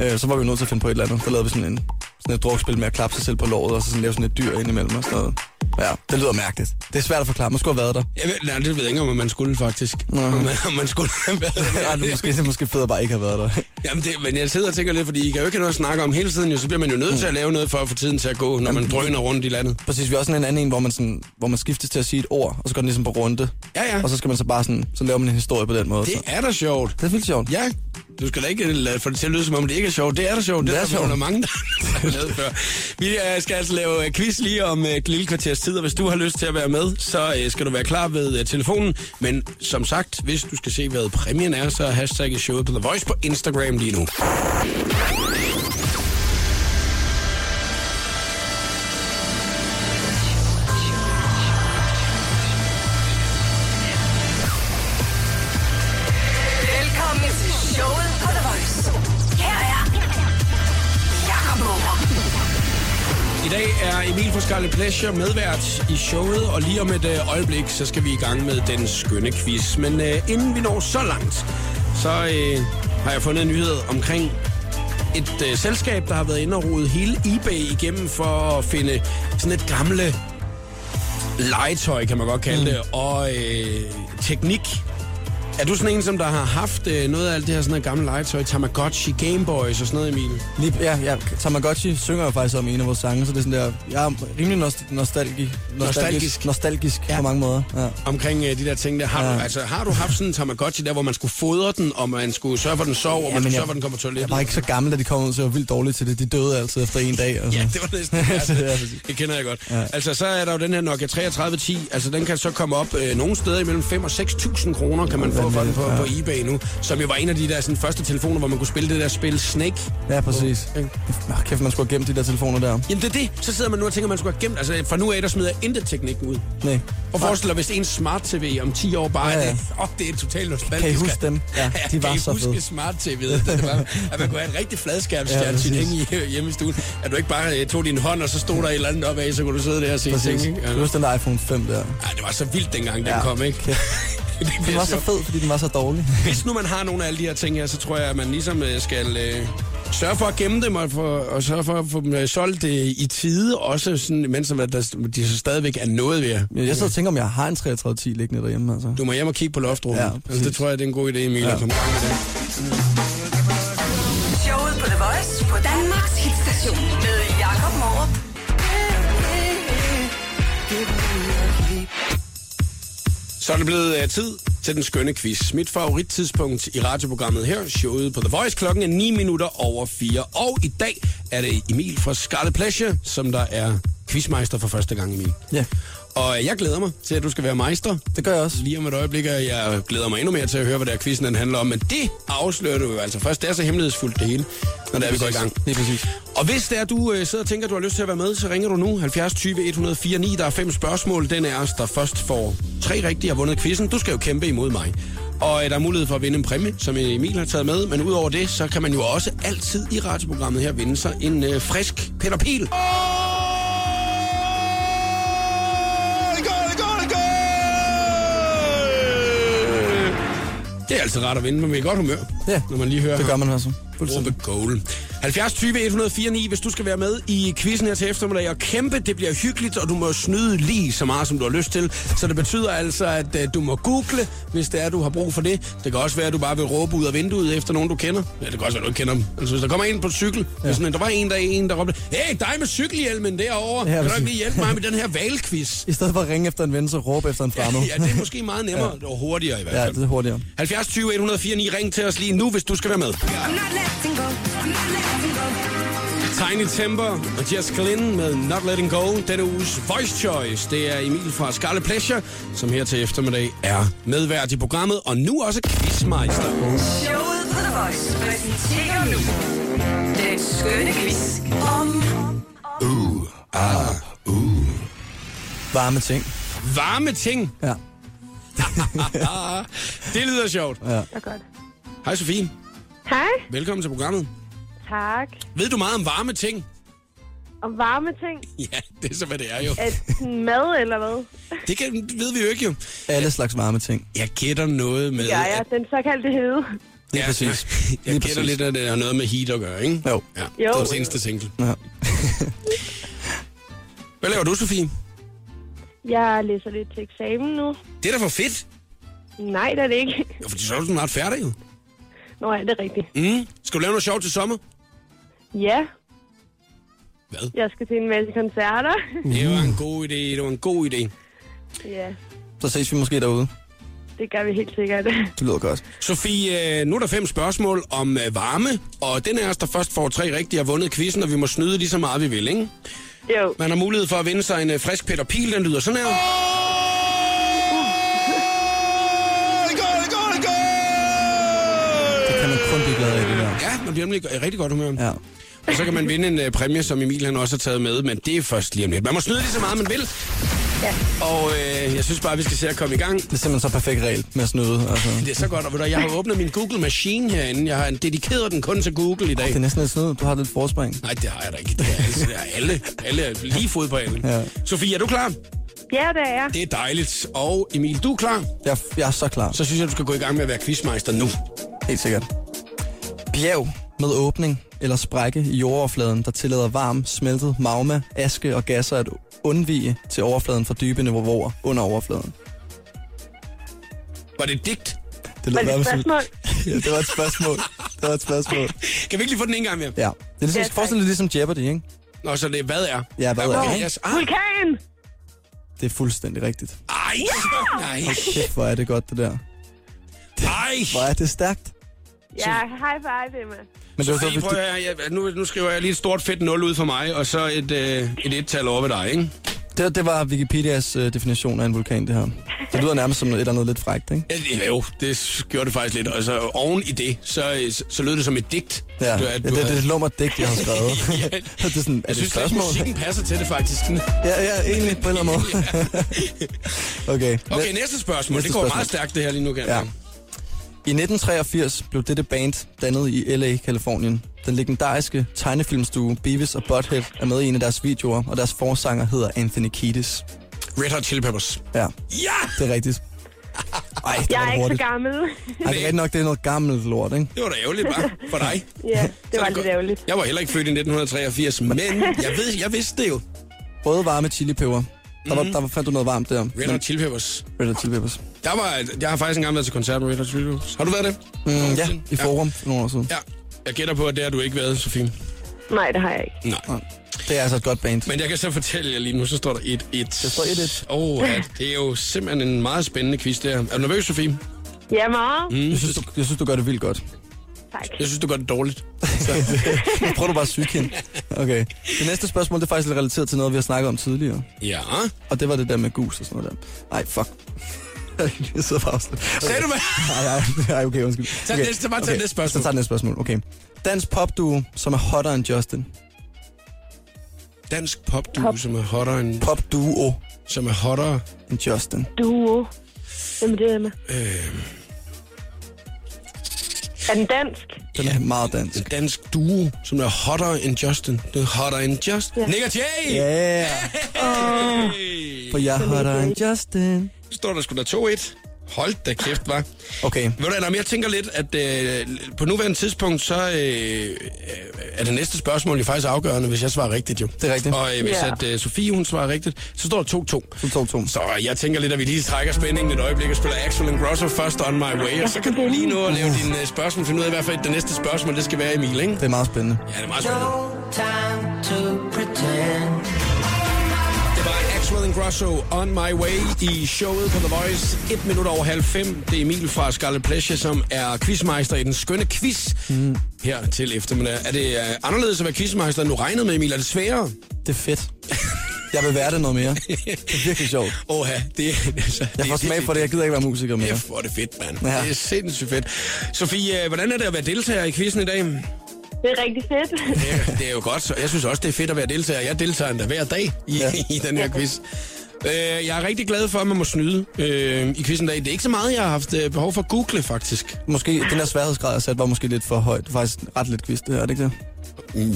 B: Øh, så var vi nødt til at finde på et eller andet. Der lavede vi sådan, en, sådan et drukspil med at klappe sig selv på låret, og så sådan lave sådan et dyr ind imellem og sådan noget. Ja, det lyder mærkeligt. Det er svært at forklare. Man skulle have været der.
A: Jeg ved, nej, det ved jeg ikke, om man skulle faktisk.
B: Nå.
A: Om, man, om man skulle have været
B: Ja, det er måske, det er måske fedt at bare ikke have været der.
A: Jamen, det, men jeg sidder og tænker lidt, fordi I kan jo ikke have noget at snakke om hele tiden, jo, så bliver man jo nødt til
B: Mm.
A: at lave noget for at få tiden til at gå, når man drøner rundt i landet.
B: Præcis, vi har også sådan en anden en, hvor man, sådan, hvor man skiftes til at sige et ord, og så går den ligesom på runde.
A: Ja, ja.
B: Og så skal man så bare sådan, så laver man en historie på den måde.
A: Det
B: så.
A: er da sjovt.
B: det er vildt sjovt.
A: Ja, du skal da ikke øh, lade få det til at lyde, som om det ikke er sjovt. Det er da sjovt. Det,
B: Det
A: er
B: er
A: der
B: sjovt.
A: sjovt. mange, der har lavet før. Vi øh, skal altså lave øh, quiz lige om øh, et lille kvarters tid, og hvis du har lyst til at være med, så øh, skal du være klar ved øh, telefonen. Men som sagt, hvis du skal se, hvad præmien er, så hashtag showet på The Voice på Instagram lige nu.
G: Velkommen til showet på The Voice. Her er Jakob Møller.
A: I dag er Emil fra Scarlet Pleasure medvært i showet, og lige om et øh, øjeblik, så skal vi i gang med den skønne quiz. Men øh, inden vi når så langt, så øh, har jeg fundet en nyhed omkring et øh, selskab, der har været inde og rodet hele eBay igennem for at finde sådan et gamle legetøj, kan man godt kalde mm. det, og øh, teknik. Er du sådan en, som der har haft øh, noget af alt det her sådan noget gamle legetøj, Tamagotchi, Gameboys og sådan noget, Emil?
B: Lige, ja, ja, Tamagotchi synger jo faktisk om i en af vores sange, så det er sådan der, jeg er rimelig nostalgi, nostalgi,
A: Nostalgisk.
B: nostalgisk, nostalgisk ja. på mange måder. Ja.
A: omkring øh, de der ting der. Har, ja. du,
B: Ja.
A: altså, har du haft sådan en Tamagotchi der, hvor man skulle fodre den, og man skulle sørge for, den sov, og man skulle sørge for, den kom på
B: jeg er
A: toilettet?
B: bare ikke så gammel, at de kom ud, så jeg var vildt dårlig til det. De døde altid efter en dag. Altså.
A: Ja, det var næsten det værste. Det kender jeg godt. Ja. Altså, så er der jo den her Nokia 3310. Altså, den kan så komme op øh, nogle steder imellem 5 og 6.000 kroner, kan man få jo for den på,
B: vanvittigt,
A: på eBay nu, som jo var en af de der sådan, første telefoner, hvor man kunne spille det der spil Snake.
B: Ja, præcis.
A: Ikke?
B: Nå, kæft, man skulle have gemt de der telefoner der.
A: Jamen det er det. Så sidder man nu og tænker, man skulle have gemt. Altså fra nu af, der smider jeg intet teknikken ud.
B: Nej.
A: Og forestil dig, hvis en smart tv om 10 år bare ja,
B: Ja,
A: ja.
B: ja.
A: er det. Åh, det er totalt nostalgisk.
B: Kan I huske dem? Ja, de var
A: kan I
B: så
A: huske
B: fede.
A: smart tv? Det var, at man kunne have en rigtig fladskærmsfjernsyn ja,
B: Ja,
A: hænge i øh, hjemme i stuen. At du ikke bare øh, tog din hånd, og så stod der et eller andet op af, så kunne du sidde der og se ting.
B: Præcis.
A: ikke? Ja.
B: Du husker den der iPhone 5 der.
A: Ej, det var så vildt dengang, den
B: Ja,
A: kom, ikke?
B: kæft.
A: det
B: Den
A: bliver
B: var så
A: sjovt.
B: fed, fordi den var så dårlig.
A: Hvis nu man har nogle af alle de her ting her, så tror jeg, at man ligesom øh, skal øh, sørge for at gemme dem, og, for, og sørge for at få dem øh, solgt øh, i tide, også sådan, mens at der, de så stadigvæk er noget ved jer.
B: Men Jeg sidder og tænker, om jeg har en 3310 liggende derhjemme, altså.
A: Du må hjem og kigge på loftrummet.
B: Ja,
A: Ja, altså, det
B: præcis.
A: tror jeg, det er en god idé, Emil. Ja.
B: Ja.
A: At komme i gang med det.
G: Showet på The Voice på Danmarks hitstation med Jakob Morup.
A: Så er det blevet øh, tid til den skønne quiz. Mit favorittidspunkt i radioprogrammet her, showet på The Voice, klokken er 9 minutter over 4. Og i dag er det Emil fra Scarlet Pleasure, som der er quizmeister for første gang, Emil.
B: Ja,
A: Og øh, jeg glæder mig til, at du skal være meister.
B: det gør jeg også.
A: Lige om et øjeblik, og jeg glæder mig endnu mere til at høre, hvad der quizzen den handler om. Men det afslører du jo altså først. Det er så hemmelighedsfuldt det hele, når det er, vi går i gang.
B: Lige præcis.
A: Og hvis det er, du øh, sidder og tænker, du har lyst til at være med, så ringer du nu 70 20 104 9. Der er fem spørgsmål. Den er os, der først får tre rigtige og har vundet quizzen. Du skal jo kæmpe imod mig. Og øh, der er mulighed for at vinde en præmie, som Emil har taget med. Men udover det, så kan man jo også altid i radioprogrammet her vinde sig en øh, frisk Peter Pil. Det er altid rart at vinde, men vi er i godt humør,
B: Ja,
A: når man lige hører
B: det
A: ham.
B: gør man altså.
A: Ruben Goal. 70 20 104 9, hvis du skal være med i quizzen her til eftermiddag og kæmpe, det bliver hyggeligt, og du må snyde lige så meget, som du har lyst til. Så det betyder altså, at øh, du må google, hvis det er, du har brug for det. Det kan også være, at du bare vil råbe ud af vinduet efter nogen, du kender. Ja, det kan også være, du ikke kender dem. Altså, hvis der kommer en på cykel, ja. sådan, der var en, der, en, der råbte, hey, dig med cykelhjelmen derovre,
B: Ja,
A: ja, kan du
B: præcis.
A: ikke lige hjælpe mig med den her valgquiz?
B: I stedet for at ringe efter en ven, så råbe efter en fremmed.
A: Ja, det er måske meget nemmere, ja. og hurtigere i hvert
B: Ja,
A: fald.
B: det er hurtigere.
A: 70 20 104 9, ring til os lige nu, hvis du skal være med.
G: I'm not letting go. I'm not letting go.
A: Tiny Temper og Jess Glynn med Not Letting Go. Denne uges Voice Choice, det er Emil fra Scarlet Pleasure, som her til eftermiddag er medvært i programmet, og nu også quizmeister.
G: Showet på The Voice præsenterer nu den skønne quiz om
B: Varme ting.
A: Varme ting,
B: Ja.
A: det lyder sjovt. Ja. Hej Sofie,
H: Hej.
A: velkommen til programmet.
H: Tak.
A: Ved du meget om varme ting?
H: Om varme ting.
A: Ja, det er så, hvad det er jo.
H: Er det sådan mad eller hvad?
A: Det kan, ved vi jo ikke jo.
B: Alle slags varme ting.
A: Jeg gætter noget med...
H: Ja, ja,
A: at-
H: den såkaldte hede.
A: ja,
B: præcis.
A: Jeg
B: Lige
A: gætter
B: præcis.
A: lidt, at det har noget med heat at gøre, ikke?
B: Jo.
A: Ja, det
H: Jo.
A: var seneste single.
B: Ja.
A: Hvad laver du, Sofie?
H: Jeg læser lidt til eksamen nu.
A: Det er da for fedt.
H: Nej, det er det ikke.
A: Ja, fordi så er du snart færdig jo.
H: Nå ja, det er rigtigt.
A: Mm. Skal du lave noget sjovt til sommer?
H: Ja,
A: Hvad?
H: jeg skal til en masse koncerter.
A: Det var en god idé, det var en god idé.
H: ja,
B: Så ses vi måske derude.
H: det gør vi helt sikkert.
B: Det lyder godt.
A: Sofie, øh, nu er der fem spørgsmål om øh, varme, og den af os, der først får tre rigtige, har vundet quizzen, og vi må snyde lige så meget, vi vil, ikke?
H: jo,
A: Man har mulighed for at vinde sig en øh, frisk Peter Pil, den lyder sådan her.
B: Det kan man kun blive glad af, det der.
A: Ja, man bliver nemlig i rigtig godt humør.
B: Ja.
A: Og så kan man vinde en øh, præmie, som Emil han også har taget med, men det er først lige om lidt. Man må snyde lige så meget, man vil. Ja. Og øh, jeg synes bare, vi skal se at komme i gang.
B: Det er simpelthen så perfekt regel med at snyde. Altså.
A: Det er så godt, og ved du, jeg har åbnet min Google-maskine herinde. Jeg har dedikeret den kun til Google i dag.
B: Det er næsten lidt snyde. Du har lidt forspring.
A: Nej, det har jeg da ikke. Det er, altså, det er alle, alle er lige fod på alle. Ja.
B: Ja.
A: Sofie, er du klar?
H: ja, det er jeg.
A: Det er dejligt. Og Emil, du er klar?
B: Jeg, jeg er så klar.
A: Så synes jeg, du skal gå i gang med at være quizmeister nu.
B: Helt sikkert. Bjerg med åbning eller sprække i jordoverfladen, der tillader varm, smeltet magma, aske og gasser at undvige til overfladen fra dybe niveauer under overfladen.
A: Var det et digt?
B: Det
H: Var det et
B: nærmest som-
H: spørgsmål?
B: Ja, det var et spørgsmål. Det var et spørgsmål.
A: Kan vi ikke lige få den en gang mere?
B: Ja. Det er ligesom,
H: Ja,
B: ja,
H: tak.
B: forestil dig ligesom Jeopardy, ikke?
A: Nå, så det er, hvad er?
B: Ja, hvad er,
A: okay,
B: ikke?
A: yes. ah,
H: Vulkan!
B: Det er fuldstændig rigtigt.
A: Ej, nej,
B: Kæft, hvor er det godt, det der.
A: ej.
B: Hvor er det stærkt.
H: Ja, high five, Emma.
B: Men det var så,
A: Ej,
B: hvis
A: prøv
B: du...
A: at høre, jeg, nu, nu skriver jeg lige et stort fedt 0 ud for mig, og så et, øh, et et-tal over ved dig, ikke?
B: Det, det var Wikipedias øh, definition af en vulkan, det her. Det lyder nærmest som et eller andet lidt frækt, ikke?
A: Øh, Jo, det s- gjorde det faktisk lidt. Og så oven i det, så, øh, så- så lød det som et digt.
B: Ja,
A: du,
B: du,
A: at
B: det,
A: du
B: det, det er
A: havde-
B: et lummert digt, jeg har skrevet.
A: Ja.
B: det er sådan, er
A: Jeg
B: det et
A: synes, at
B: spørgsmål?
A: musikken passer til det faktisk.
B: Ja, ja, egentlig på en eller anden måde. okay.
A: Okay, næste spørgsmål. Næste
B: Næste
A: det går spørgsmål. meget
B: spørgsmål.
A: stærkt, det her lige nu, kan jeg
B: Ja.
A: mærke.
B: I 1983 blev dette band dannet i L.A., Kalifornien. Den legendariske tegnefilmstue Beavis og Butthead er med i en af deres videoer, og deres forsanger hedder Anthony Kiedis.
A: Red Hot Chili Peppers.
B: Ja,
A: Ja!
B: det er rigtigt. Ej, det
H: Jeg
B: var
H: er ikke
B: hurtigt.
H: så gammel.
B: Ej, det er rigtigt nok, det er noget gammelt lort, ikke?
A: Det var da ærgerligt, bare for dig.
H: ja, det
A: Så
H: var
A: er
H: lidt
A: godt.
H: ærgerligt.
A: Jeg var heller ikke født i 1983, men jeg, ved, jeg vidste det jo.
B: Røde varme chilipeber. Der,
A: Mhm.
B: var, der fandt du noget varmt der.
A: Red Hot Chili Peppers.
B: Red Hot Chili Peppers.
A: Der var, jeg har faktisk engang været til koncert med Red Hot Chili Peppers. Har du været det?
B: Mm, ja, i forum for nogle år siden.
A: Ja. Jeg gætter på, at det har du ikke været, Sofie.
H: Nej, det har jeg ikke.
A: Nej.
B: Det er altså et godt band.
A: Men jeg kan så fortælle jer lige nu, så står der 1-1. Der
B: står 1-1.
A: Åh, ja, det er jo simpelthen en meget spændende quiz, det her. Er du nervøs, Sofie?
H: Ja, meget.
B: Jeg synes, du, jeg synes, du gør det vildt godt.
H: Tak.
A: Jeg synes, du gør det dårligt.
B: Nu prøver du bare at syge hende. Okay. Det næste spørgsmål, det er faktisk lidt relateret til noget, vi har snakket om tidligere.
A: Ja.
B: Og det var det der med gus og sådan noget der. Ej, fuck. jeg sidder bare og sådan-
A: Sagde du hvad?
B: Ej, ej, ej, okay, undskyld.
A: Tag
B: okay.
A: næste, bare tag næste spørgsmål.
B: Så tager jeg næste spørgsmål, okay. Dansk popduo, som er hotter end Justin.
A: Dansk popduo, som er hottere end...
B: Popduo
A: Som er hottere.
B: end Justin.
H: Duo. Hvem er det med?
A: Øhm.
H: Er den dansk?
B: Den er meget dansk.
A: En dansk duo, som er hottere end Justin. Det er hottere end Justin. Nick og Jay!
B: Ja, yeah.
A: Hey!
B: for jeg er hotter end Justin.
A: Så står der sgu da 2-1. Hold da kæft, var.
B: Okay,
A: Ved du, Adam, jeg tænker lidt, at øh, på nuværende tidspunkt, så øh, er det næste spørgsmål jo faktisk afgørende, hvis jeg svarer rigtigt jo.
B: Det er rigtigt.
A: Og øh, hvis
H: Ja.
A: at, øh, Sofie, hun svarer rigtigt, så står der 2-2.
B: så tog to.
A: Så øh, jeg tænker lidt, at vi lige trækker spændingen et øjeblik og spiller Axel and Grosso først on my way. Og så kan du lige nå at lave dine øh, spørgsmål, finde ud af i hvert fald, at det næste spørgsmål, det skal være Emil, ikke?
B: Det er meget spændende.
A: Ja, det er meget spændende. Det var Axel and Grosso on my way i showet på The Voice. Et minut over halv fem. Det er Emil fra Scarlet Pleasure, som er quizmeister i den skønne quiz mm. her til eftermiddag. Er det øh, anderledes at være quizmeister, end du regnede med, Emil? Er det sværere?
B: Det er fedt. Jeg vil være det noget mere. Det er virkelig sjovt.
A: Åh, ja. Det, altså,
B: Jeg får smag for det. Jeg gider ikke være musiker mere.
A: F, hvor er det fedt, mand. Ja.
B: Ja.
A: Det er sindssygt fedt. Sofie, øh, hvordan er det at være deltager i quizzen i dag?
H: Det er rigtig fedt.
A: Det, det er jo godt. så Jeg synes også, det er fedt at være deltager. Jeg deltager endda hver dag i, ja.
B: Ja.
A: i den her quiz. Øh, jeg er rigtig glad for, at man må snyde øh, i quizzen i dag. Det er ikke så meget, jeg har haft øh, behov for at google, faktisk.
B: Måske den her sværhedsgrad, jeg satte, var måske lidt for højt. Det er faktisk ret lidt quiz, det her, er det ikke det? Mm.
A: Nå,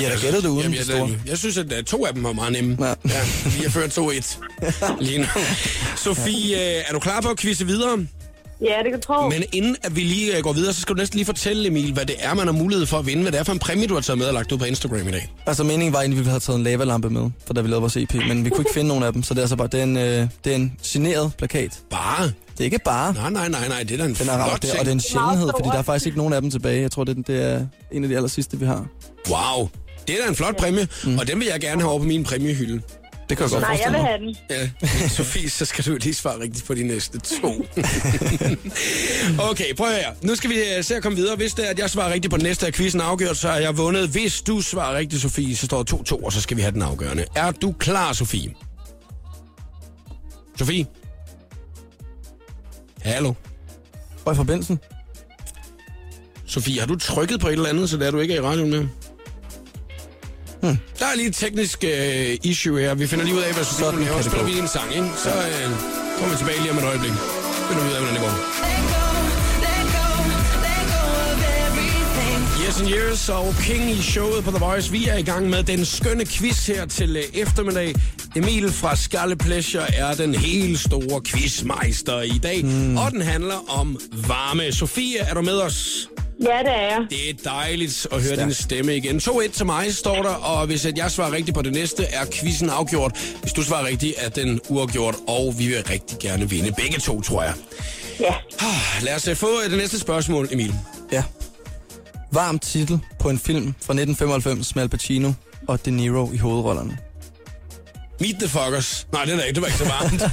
B: I har da gættet det uden
A: Jamen,
B: de
A: jeg,
B: store.
A: jeg, jeg synes, at øh, to af dem var meget nemme. Ja.
B: Ja.
A: ja vi har ført 2-1 lige nu. Sofie, øh, er du klar på at quizze videre?
H: Ja, det kan jeg tro.
A: Men inden at vi lige øh, går videre, så skal du næsten lige fortælle, Emil, hvad det er, man har mulighed for at vinde. Hvad det er for en præmie, du har taget med og lagt ud på Instagram i dag.
B: Altså meningen var egentlig, at vi havde taget en lavalampe med, for da vi lavede vores EP, men vi kunne ikke finde nogen af dem, så det er altså bare, det er en, øh, det er en signeret plakat.
A: Bare?
B: Det er ikke bare,
A: Nej, nej, nej, nej. Det er da en
B: den er
A: flot
B: ramt der,
A: ting.
B: og det er en sjældenhed, fordi der er faktisk ikke nogen af dem tilbage. Jeg tror, det er, den- det er en af de aller sidste, vi har.
A: Wow. Det er da en flot præmie, mm. og den vil jeg gerne have over på min præmiehylde.
B: Det kan jeg godt
H: Nej, jeg
B: forestille
H: vil
B: mig.
H: have den.
A: Ja, Sofie, så skal du lige svare rigtigt på de næste to. okay, prøv her. Nu skal vi øh, se at komme videre. Hvis det er, at jeg svarer rigtigt på den næste af quizzen afgjort, så har jeg vundet. Hvis du svarer rigtigt, Sofie, så står der 2-2, og så skal vi have den afgørende. Er du klar, Sofie? Sofie? Hallo?
B: Røg forbindelsen?
A: Sofie, har du trykket på et eller andet, så det er du ikke er i radioen med? Hmm. Der er lige et teknisk øh, issue her. Vi finder lige ud af, hvad Sofie hun
B: Sådan
A: laver. Så
B: kan det
A: spiller
B: gå.
A: vi lige en sang, ikke? Så øh, kommer vi tilbage lige om et øjeblik. Så finder vi ud af, hvordan det går. Yes and Years og King i showet på The Voice. Vi er i gang med den skønne quiz her til øh, eftermiddag. Emil fra Skalle Pleasure er den helt store quizmeister i dag.
B: Hmm.
A: Mm. Og den handler om varme. Sofie, er du med os?
H: Ja, det er jeg.
A: Det er dejligt at høre din stemme igen. 2-1 til mig står der, og hvis at jeg svarer rigtigt på det næste, er quizzen afgjort. Hvis du svarer rigtigt, er den uafgjort, og vi vil rigtig gerne vinde begge to, tror jeg.
H: Ja.
A: Ah, Lad os øh, få øh, det næste spørgsmål, Emil.
B: Ja. Varm titel på en film fra 1995 med Al Pacino og De Niro i hovedrollerne.
A: Meet the fuckers. Nej, det er der ikke. Det var ikke så varmt.
H: 19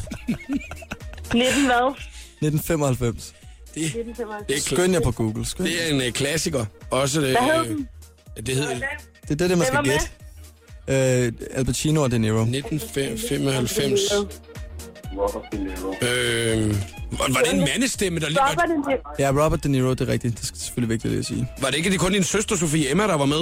H: hvad?
B: 1995.
H: 19 til mig.
A: Det er, kl-
B: Skøn jer på Google. Skøn. jer.
A: det er en øh, klassiker. Også det,
H: Hvad hed
A: øh,
H: den?
A: det hedder
B: Det er det, man
H: Den var
B: skal
H: med.
B: gætte. Øh, Al Pacino og De Niro.
A: 1995. Øh, var, var det en mandestemme, der lige...
H: Robert
A: Var,
H: De Niro.
B: Ja, Robert De Niro, det er rigtigt. Det er selvfølgelig vigtigt lige at sige.
A: var det ikke det kun din søster, Sofie Emma, der var med?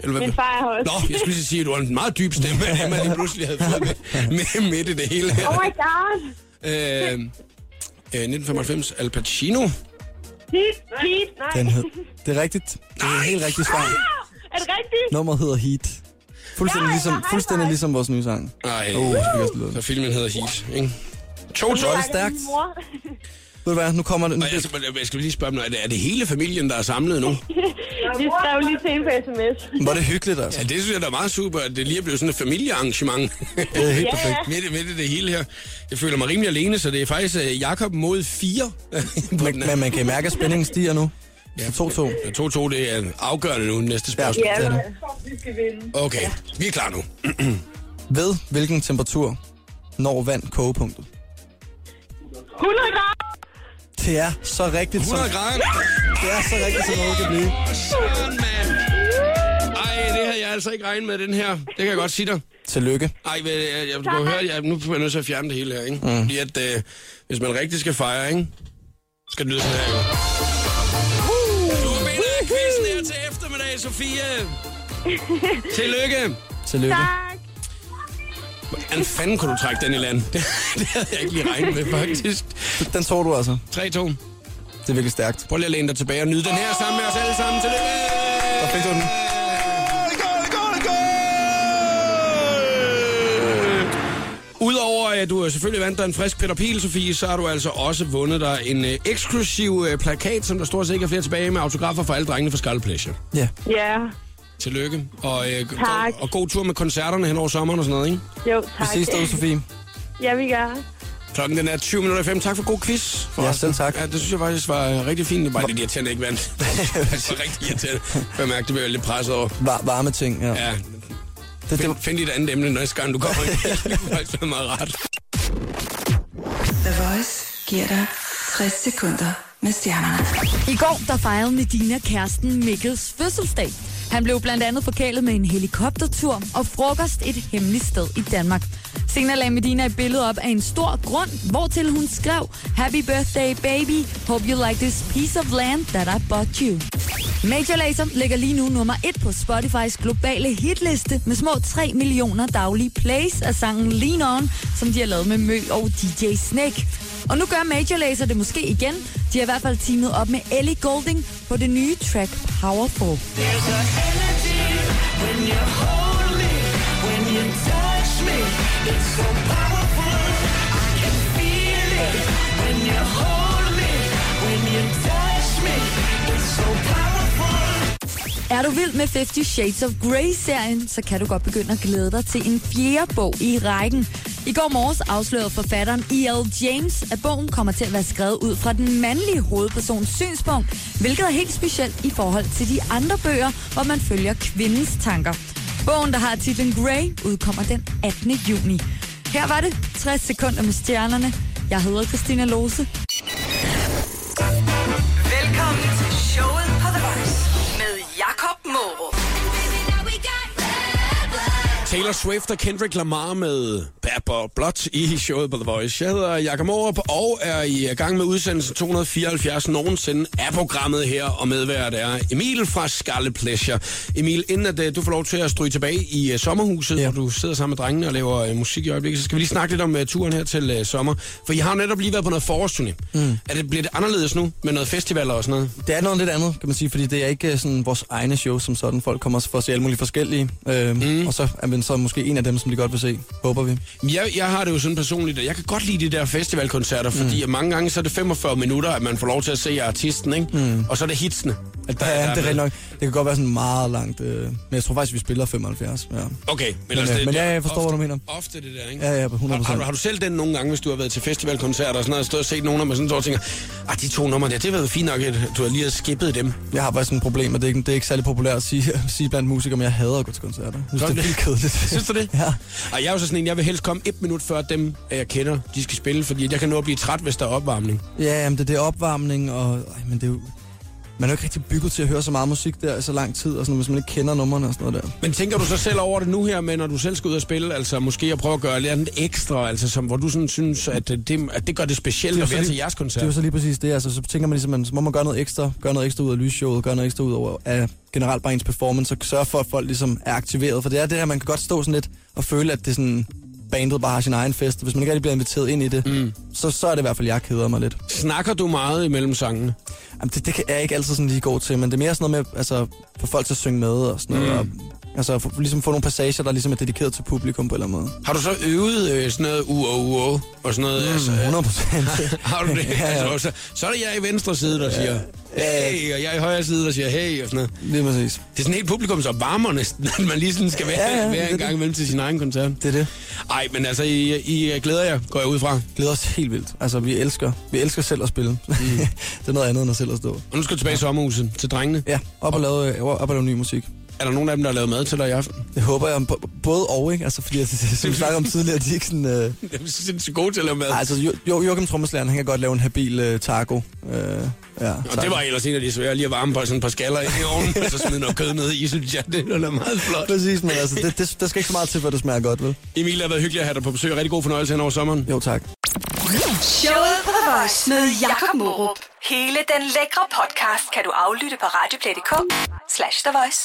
A: Eller hvad?
H: Min far er højst.
A: Nå, jeg skulle lige sige, at du har en meget dyb stemme, at Emma lige pludselig havde fået med, med midt i det hele her.
H: Oh my god.
A: Øh, øh, 1995, Al Pacino.
H: Heat, heat, nej.
B: Den hed. Det er rigtigt. Det er helt rigtigt svar.
H: Er det rigtigt?
B: Nummeret hedder Heat. Fuldstændig
H: Nej,
B: ligesom,
H: nej, nej.
B: fuldstændig ligesom vores nye sang.
A: Nej,
B: Åh, oh,
A: oh.
B: det fik jeg også lyde.
A: så filmen hedder Heat, ikke? To tøj.
B: er stærkt.
H: Min mor.
B: Ved du hvad, nu kommer den.
A: Og jeg, skal- jeg skal lige spørge om noget. Er det- Er det hele familien, der er samlet nu?
H: Vi skrev lige til en på sms.
B: Var det hyggeligt, altså?
A: Ja, det synes jeg da er meget super, at det lige er blevet sådan et familiearrangement.
B: Det er helt
H: Ja,
B: perfekt.
H: ja.
A: midt, i- midt i det hele her. Jeg føler mig rimelig alene, så det er faktisk øh, Jakob mod 4 på
B: Men,
A: den her.
B: men man kan mærke, at spændingen stiger nu.
A: Ja.
B: 2-2.
A: Ja, 2-2, øh, det er afgørende nu, næste spørgsmål.
H: Ja,
B: det er det.
H: vi skal vinde.
A: Okay, vi er klar nu.
B: Ved hvilken temperatur når vand kogepunktet?
H: 100 grader.
B: Det er så rigtigt, som,
A: 100 grader.
B: det er så rigtigt, som noget kan blive.
A: Sådan, mand. Ej, det havde jeg altså ikke regnet med, den her. Det kan jeg godt sige dig.
B: Tillykke.
A: Ej, men jeg, jeg, jeg, høre, jeg, nu er jeg nødt til at fjerne det hele her, ikke? Mm. Fordi at, øh, hvis man rigtig skal fejre, ikke? Skal det lyde sådan her, jo. Du vinder quizzen her til eftermiddag, Sofie. Tillykke.
B: Tillykke.
H: Tak.
A: Hvordan fanden kunne du trække den i land? Det, det havde jeg ikke lige regnet med, faktisk.
B: Den tog du altså.
A: 3-2.
B: Det er virkelig stærkt.
A: Prøv lige at læne dig tilbage og nyde den her sammen med os alle sammen. Tillykke!
B: Der fik du den.
A: Udover at du selvfølgelig vandt dig en frisk Peter Piel, Sofie, så har du altså også vundet dig en øh, eksklusiv øh, plakat, som der stort set ikke er flere tilbage med autografer for alle drengene fra Scarlet Pleasure.
B: Ja.
H: Ja,
A: Tillykke, og, øh,
H: Tak.
A: go- og god tur med koncerterne hen over sommeren og sådan noget, ikke?
H: jo
B: Vi
H: tak.
B: ses derude, Sofie.
H: Ja, vi gør.
A: Klokken den er 20 minutter i fem. Tak for god quiz. forresten.
B: selv tak.
A: Ja, det synes jeg faktisk var øh, rigtig fint. Det er bare lidt irriterende, ikke vandt. det var rigtig irriterende. Jeg mærkte, det blev jeg lidt presset over.
B: Var, varme ting, ja.
A: Ja,
B: Det, det,
A: find, find dit andet emne næste gang, du kommer. ind. det kunne faktisk være meget rart.
C: The Voice giver dig 60 sekunder med stjernerne.
F: I går der fejrede Medina kæresten Mikkels fødselsdag. Han blev blandt andet forkælet med en helikoptertur og frokost et hemmeligt sted i Danmark. Senere lagde Medina et billede op af en stor grund, hvortil hun skrev Happy birthday baby, hope you like this piece of land that I bought you. Major Lazer ligger lige nu nummer et på Spotify's globale hitliste med små 3 millioner daglige plays af sangen Lean On, som de har lavet med Mø og DJ Snake. Og nu gør Major Lazer det måske igen. De har i hvert fald teamet op med Ellie Golding på det nye track Powerful. Er du vild med 50 Shades of Grey-serien, så kan du godt begynde at glæde dig til en fjerde bog i rækken. I går morges afslørede forfatteren E.L. James, at bogen kommer til at være skrevet ud fra den mandlige hovedpersons synspunkt, hvilket er helt specielt i forhold til de andre bøger, hvor man følger kvindens tanker. Bogen, der har titlen Grey, udkommer den 18. juni. Her var det 60 sekunder med stjernerne. Jeg hedder Christina Lose.
G: Velkommen til showet på The Voice med Jakob Morup.
A: Taylor Swift og Kendrick Lamar med Bad Blood, Blood i showet på The Voice. Jeg hedder Jakob Morup og er i gang med udsendelse 274 nogensinde af programmet her, og medvært er Emil fra Skalle Pleasure. Emil, inden at øh, du får lov til at stryge tilbage i øh, sommerhuset, ja.
B: Ja.
A: hvor du sidder sammen med drengene og laver øh, musik i øjeblikket, så skal vi lige snakke lidt om øh, turen her til øh, sommer. For I har jo netop lige været på noget forårsturné. Mm. Er det, bliver det anderledes nu med noget festivaler og sådan noget?
B: det er noget lidt andet, kan man sige, fordi det er ikke øh, sådan vores egne show som sådan. Folk kommer for at se alle mulige forskellige, øh, mm. og så er man så måske en af dem, som de godt vil se, håber vi.
A: Jeg, jeg har det jo sådan personligt, at jeg kan godt lide de der festivalkoncerter, fordi mm. mange gange så er det 45 minutter, at man får lov til at se artisten, ikke? Mm. Og så er det hitsene. At
B: Ja, ja, det er
A: med.
B: rigtig nok. Det kan godt være sådan meget langt, øh, men jeg tror faktisk, vi spiller 75. Ja.
A: Okay, men, altså,
B: øh,
A: det,
B: men
A: det er
B: ja, jeg forstår,
A: ofte,
B: hvad du mener.
A: Ofte det der, ikke?
B: Ja, ja, på
A: Har,
B: 100%.
A: har, du, har du selv den nogle gange, hvis du har været til festivalkoncerter og sådan noget, stået og set nogen nummer sådan noget, og tænker, ah, de to numre der, det var jo fint nok, at du har lige har skippet dem.
B: Jeg har bare sådan et problem, og det er ikke, det er ikke særlig populært at sige, at sige blandt musikere, men jeg hader at gå til koncerter. Jeg synes, det er vildt kedeligt.
A: Synes du det?
B: Ja.
A: Og jeg er jo så sådan en, jeg vil helst komme et minut før dem, jeg kender, de skal spille, fordi jeg kan nå at blive træt, hvis der er opvarmning.
B: Ja, jamen, det, det er opvarmning, og... Ej, men det er jo... man er jo ikke rigtig bygget til at høre så meget musik der i så lang tid, og sådan, hvis man ikke kender numrene og sådan noget der.
A: Men tænker du så selv over det nu her med, når du selv skal ud og spille, altså måske at prøve at gøre lidt andet ekstra, altså som, hvor du sådan synes, at øh, det, at det gør det specielt
B: jo
A: at
B: så
A: være
B: lige-
A: til jeres koncert?
B: Det er jo så lige præcis det. Altså, så tænker man ligesom, man, så må man gøre noget ekstra. Gøre noget ekstra ud af lysshowet. Gøre noget ekstra ud over af generelt bare ens performance. Og sørge for, at folk ligesom er aktiveret. For det er det her, man kan godt stå sådan lidt og føle, at det er sådan bandet bare har sin egen fest. og Hvis man ikke rigtig bliver inviteret ind i det, mm. så, så er det i hvert fald, jeg keder mig lidt.
A: Snakker du meget imellem sangene?
B: Jamen, det, det kan- er jeg ikke altid sådan lige god til, men det er mere sådan noget med, altså, for folk til at synge med og sådan noget. Mm. Og, altså, for, ligesom få nogle passager, der ligesom er dedikeret til publikum på en eller anden måde.
A: Har du så øvet øh, sådan noget uo uo og sådan noget? Mm, altså,
B: 100 procent.
A: har du det? ja, ja. Altså, så, så er det jeg i venstre side, der siger hey, og jeg i højre side, der siger hey, og sådan noget.
B: lige præcis.
A: Det er sådan helt publikumsopvarmer næsten, at man lige sådan skal være, ja,
B: Ja, ja,
A: ja,
B: det er
A: være en
B: det.
A: gang imellem til sin egen koncert.
B: Det er det.
A: Ej, men altså, I, I glæder jer, går jeg ud fra.
B: glæder os helt vildt. Altså, vi elsker, vi elsker selv at spille. Mm. det er noget andet end at selv at stå.
A: Og nu skal du tilbage i sommerhuset til drengene.
B: Ja, op og, lave, øh, op og lave ny musik.
A: Er der nogen af dem, der har lavet mad til dig i aften?
B: Det håber jeg b- både og, ikke? Altså, fordi jeg, som vi snakkede om tidligere, de er ikke sådan... Øh...
A: Jeg er sindssygt gode til at lave mad.
B: Ej, altså, jo, jo, Joachim Trommeslæren, han kan godt lave en habil øh, taco. Øh, ja,
A: Og det var ellers en af de svære, lige at varme på sådan et par skaller ind i ovnen, og så smide noget kød ned i, synes jeg, det er meget flot.
B: Præcis, men altså, det, det, der skal ikke så meget til, for at det smager godt, vel?
A: Emil, det har været hyggeligt at have dig på besøg. Rigtig god fornøjelse hen over sommeren.
B: Jo, tak.
G: Showet på The Voice med Jakob Morup. Hele den lækre podcast kan du aflytte på radioplay.dk slash The Voice.